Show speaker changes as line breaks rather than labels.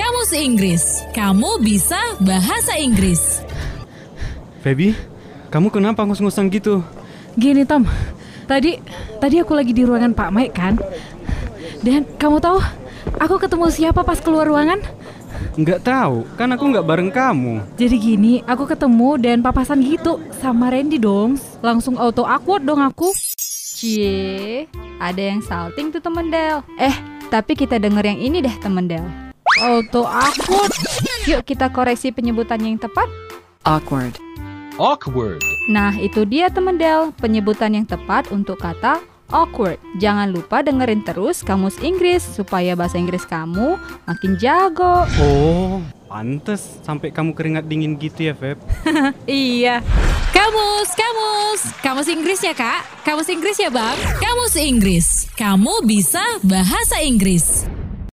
Kamus Inggris. Kamu bisa bahasa Inggris.
Feby, kamu kenapa ngus-ngusan gitu?
Gini Tom, tadi tadi aku lagi di ruangan Pak Mike kan. Dan kamu tahu aku ketemu siapa pas keluar ruangan?
Nggak tahu, kan aku nggak bareng kamu.
Jadi gini, aku ketemu dan papasan gitu sama Randy dong. Langsung auto awkward dong aku.
Cie, ada yang salting tuh temen Del. Eh, tapi kita denger yang ini deh temen Del.
Auto awkward.
Yuk kita koreksi penyebutannya yang tepat.
awkward,
awkward,
Nah, itu dia temen Del, penyebutan yang tepat untuk kata awkward. Jangan lupa dengerin terus Kamus Inggris supaya bahasa Inggris kamu makin jago.
Oh, pantes sampai kamu keringat dingin gitu ya, Feb.
Iya.
Kamus, kamus. Kamus Inggris ya, Kak? Kamus Inggris ya, Bang? Kamus Inggris. Kamu bisa bahasa Inggris.